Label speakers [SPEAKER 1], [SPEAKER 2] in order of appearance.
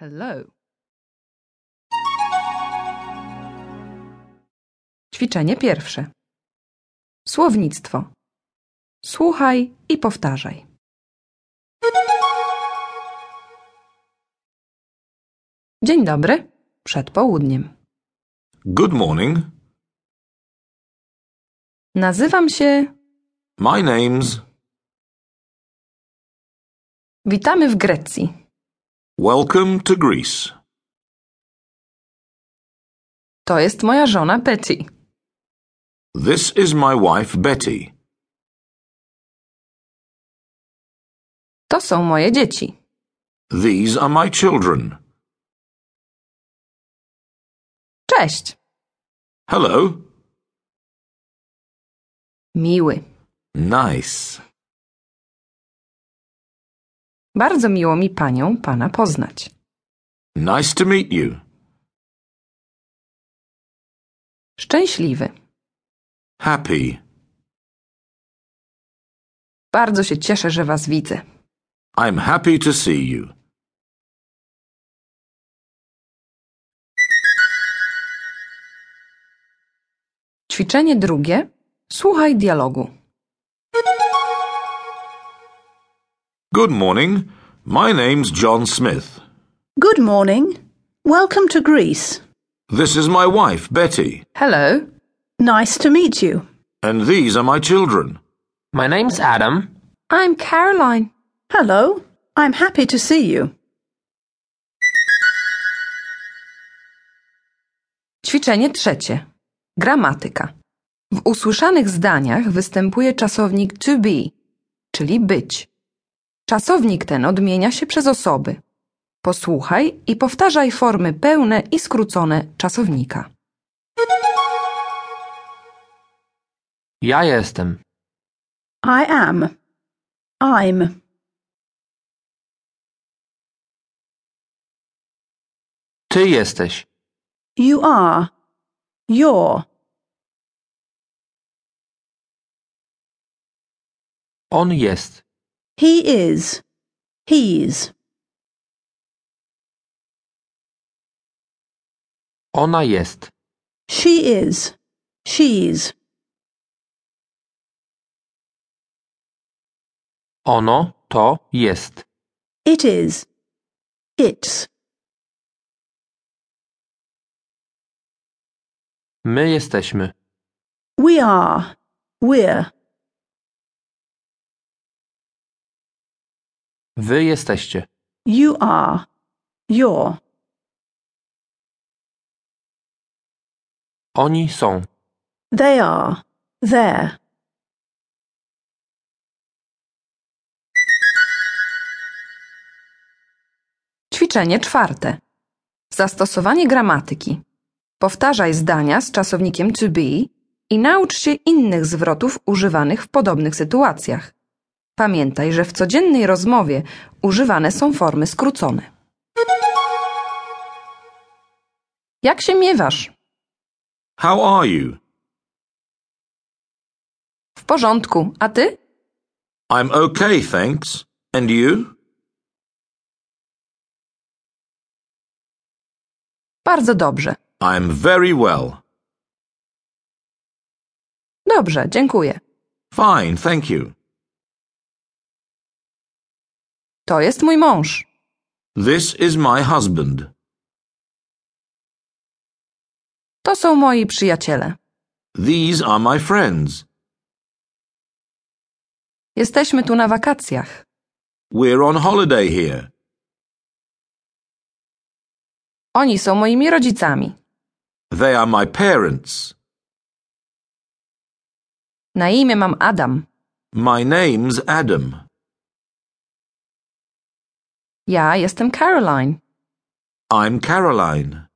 [SPEAKER 1] Hello. Ćwiczenie pierwsze. Słownictwo. Słuchaj i powtarzaj. Dzień dobry. Przed południem.
[SPEAKER 2] Good morning.
[SPEAKER 1] Nazywam się.
[SPEAKER 2] My name's.
[SPEAKER 1] Witamy w Grecji.
[SPEAKER 2] Welcome to Greece.
[SPEAKER 1] To jest moja żona Petty.
[SPEAKER 2] This is my wife Betty.
[SPEAKER 1] To są moje dzieci.
[SPEAKER 2] These are my children.
[SPEAKER 1] Cześć.
[SPEAKER 2] Hello.
[SPEAKER 1] Miły.
[SPEAKER 2] Nice.
[SPEAKER 1] Bardzo miło mi panią pana poznać.
[SPEAKER 2] Nice to meet you.
[SPEAKER 1] Szczęśliwy.
[SPEAKER 2] Happy.
[SPEAKER 1] Bardzo się cieszę, że was widzę.
[SPEAKER 2] I'm happy to see you.
[SPEAKER 1] Ćwiczenie drugie. Słuchaj dialogu.
[SPEAKER 2] Good morning. My name's John Smith.
[SPEAKER 3] Good morning. Welcome to Greece.
[SPEAKER 2] This is my wife Betty.
[SPEAKER 1] Hello.
[SPEAKER 3] Nice to meet you.
[SPEAKER 2] And these are my children.
[SPEAKER 4] My name's Adam.
[SPEAKER 1] I'm Caroline.
[SPEAKER 3] Hello. I'm happy to see you.
[SPEAKER 1] Ćwiczenie trzecie. Gramatyka. W usłyszanych zdaniach występuje czasownik to be, czyli być. Czasownik ten odmienia się przez osoby. Posłuchaj i powtarzaj formy pełne i skrócone czasownika.
[SPEAKER 4] Ja jestem.
[SPEAKER 3] I am. I'm.
[SPEAKER 4] Ty jesteś.
[SPEAKER 3] You are. You're.
[SPEAKER 4] On jest.
[SPEAKER 3] He is. He's.
[SPEAKER 4] Ona jest.
[SPEAKER 3] She is. She's.
[SPEAKER 4] Ono to jest.
[SPEAKER 3] It is. It's.
[SPEAKER 4] My jesteśmy.
[SPEAKER 3] We are. We're.
[SPEAKER 4] Wy jesteście.
[SPEAKER 3] You are. You're.
[SPEAKER 4] Oni są.
[SPEAKER 3] They are. There.
[SPEAKER 1] Ćwiczenie czwarte. Zastosowanie gramatyki. Powtarzaj zdania z czasownikiem to be i naucz się innych zwrotów używanych w podobnych sytuacjach. Pamiętaj, że w codziennej rozmowie używane są formy skrócone. Jak się miewasz?
[SPEAKER 2] How are you?
[SPEAKER 1] W porządku, a ty?
[SPEAKER 2] I'm okay, thanks. And you?
[SPEAKER 1] Bardzo dobrze.
[SPEAKER 2] I'm very well.
[SPEAKER 1] Dobrze, dziękuję.
[SPEAKER 2] Fine, thank you.
[SPEAKER 1] To jest mój mąż.
[SPEAKER 2] This is my husband.
[SPEAKER 1] To są moi przyjaciele.
[SPEAKER 2] These are my friends.
[SPEAKER 1] Jesteśmy tu na wakacjach.
[SPEAKER 2] We're on holiday here.
[SPEAKER 1] Oni są moimi rodzicami.
[SPEAKER 2] They are my parents.
[SPEAKER 1] Na imię mam Adam.
[SPEAKER 2] My name's Adam.
[SPEAKER 1] Ja jestem Caroline.
[SPEAKER 2] I'm Caroline.